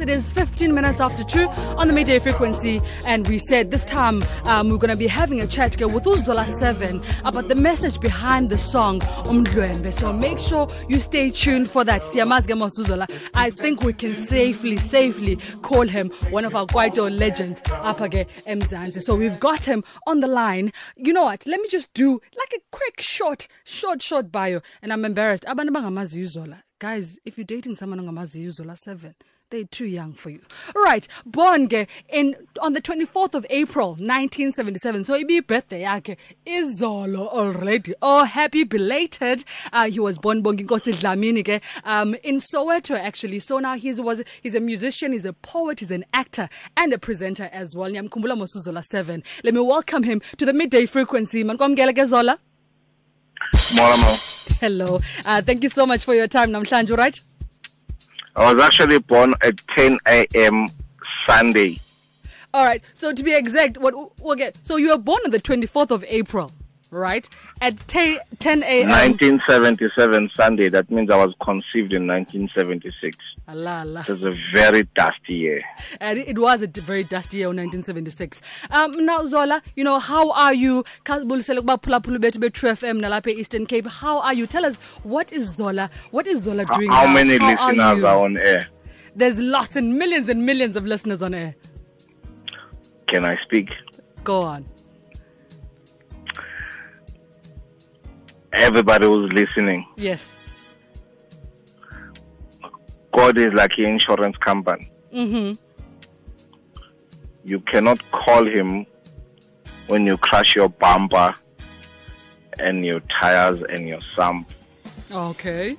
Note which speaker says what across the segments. Speaker 1: It is 15 minutes after 2 on the midday frequency, and we said this time um, we're going to be having a chat here with Uzola 7 about the message behind the song Umdwembe. So make sure you stay tuned for that. Siyamazga Masuzola. I think we can safely, safely call him one of our Guaido legends, Apage Mzanzi. So we've got him on the line. You know what? Let me just do like a quick, short, short, short bio, and I'm embarrassed. Abantu bangamazi uZola guys if you're dating someone ongamaziyo uzola 7 they're too young for you right born ke in on the 24th of april 1977 so ibiyi-birthday yakhe izolo already oh happy belated uh, he was born bonginkosi dlamini ke um, in soweto actually so now he's, was, he's a musician he's a poet he's an actor and a presenter as well ngiyamkhumbula mosuzola 7 let me welcome him to the midday frequency manikwamkele ke zola
Speaker 2: Mola Mo.
Speaker 1: hello uh, thank you so much for your time namhlanje right
Speaker 2: I was actually born at 10 a.m. Sunday.
Speaker 1: All right. So to be exact, what okay? So you were born on the 24th of April, right? At 10, 10 a.m.
Speaker 2: 1977 Sunday. That means I was conceived in 1976.
Speaker 1: Allah, Allah.
Speaker 2: It was a very dusty year.
Speaker 1: And it was a d- very dusty year, 1976. Um, now Zola, you know how are you? Kazibulisele ukuba phulaphula bethu be-True FM nalapha e-Eastern Cape. How are you? Tell us what is Zola? What is Zola
Speaker 2: How,
Speaker 1: doing?
Speaker 2: how
Speaker 1: now?
Speaker 2: many
Speaker 1: How are
Speaker 2: listeners
Speaker 1: you?
Speaker 2: are on air?
Speaker 1: There's lots and millions and millions of listeners on air.
Speaker 2: Can I speak?
Speaker 1: Go on.
Speaker 2: Everybody who's listening,
Speaker 1: Yes.
Speaker 2: God is like an insurance company.
Speaker 1: Mm-hmm.
Speaker 2: You cannot call him when you crash your bumper and your tires and your sump.
Speaker 1: Okay.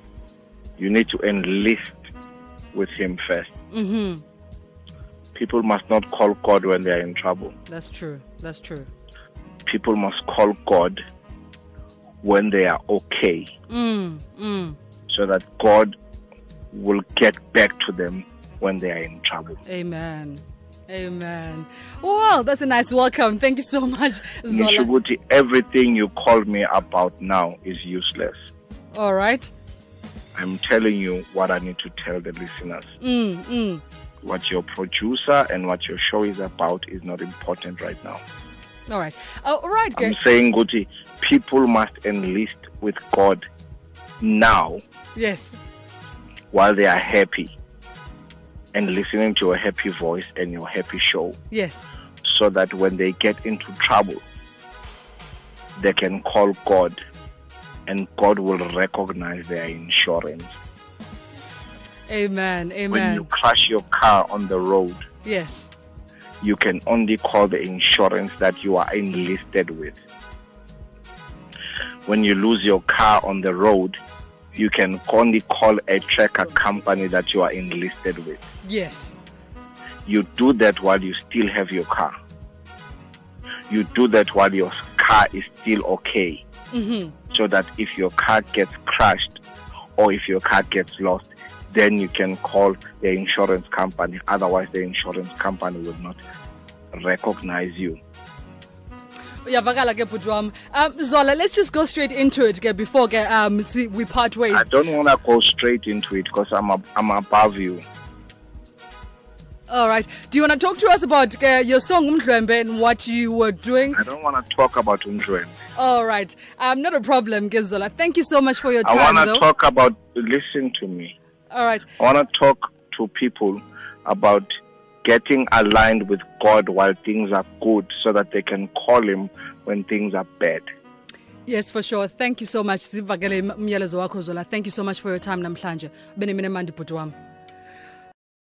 Speaker 2: You need to enlist with him first.
Speaker 1: Mm-hmm.
Speaker 2: People must not call God when they are in trouble.
Speaker 1: That's true. That's true.
Speaker 2: People must call God when they are okay
Speaker 1: Mm. Mm.
Speaker 2: so that God will get back to them when they are in trouble.
Speaker 1: Amen. Amen. Wow, that's a nice welcome. Thank you so much, Zola.
Speaker 2: Nishuguti, everything you call me about now is useless.
Speaker 1: All right.
Speaker 2: I'm telling you what I need to tell the listeners.
Speaker 1: Mm, mm.
Speaker 2: What your producer and what your show is about is not important right now.
Speaker 1: All right. Uh, all right,
Speaker 2: I'm
Speaker 1: girl.
Speaker 2: saying, Guti, people must enlist with God now
Speaker 1: Yes.
Speaker 2: while they are happy and listening to your happy voice and your happy show
Speaker 1: Yes.
Speaker 2: so that when they get into trouble, they can call God and God will recognize their insurance.
Speaker 1: Amen.
Speaker 2: When you
Speaker 1: Amen.
Speaker 2: crash your car on the road,
Speaker 1: Yes.
Speaker 2: you can only call the insurance that you are enlisted with. When you lose your car on the road, you can only call a tracker company that you are enlisted with.
Speaker 1: Yes.
Speaker 2: You do that while you still have your car. You do that while your car is still okay.
Speaker 1: Mm-hmm.
Speaker 2: So that if your car gets crashed or if your car gets lost, then you can call the insurance company. Otherwise, the insurance company will not recognize you.
Speaker 1: Uyavakala ke bhuti wam. Um, Zola, let's just go straight into it ke before ke um see, we part ways.
Speaker 2: I don't want to go straight into it because I'm, ab- I'm above you.
Speaker 1: All right. Do you want to talk to us about ke, your song Umdlwembe and what you were doing?
Speaker 2: I don't want to talk about Undruen.
Speaker 1: All right. Um, not a problem, ke Zola. Thank you so much for your
Speaker 2: I
Speaker 1: time,
Speaker 2: want
Speaker 1: though.
Speaker 2: to talk about, listen to me.
Speaker 1: All right.
Speaker 2: I want to talk to people about getting aligned with God while things are good so that they can call Him when things are bad.
Speaker 1: Yes, for sure. Thank you so much. Sivakele umyalezo wakho Zola. Thank you so much for your time namhlanje. Benemine mandi bhuti wam.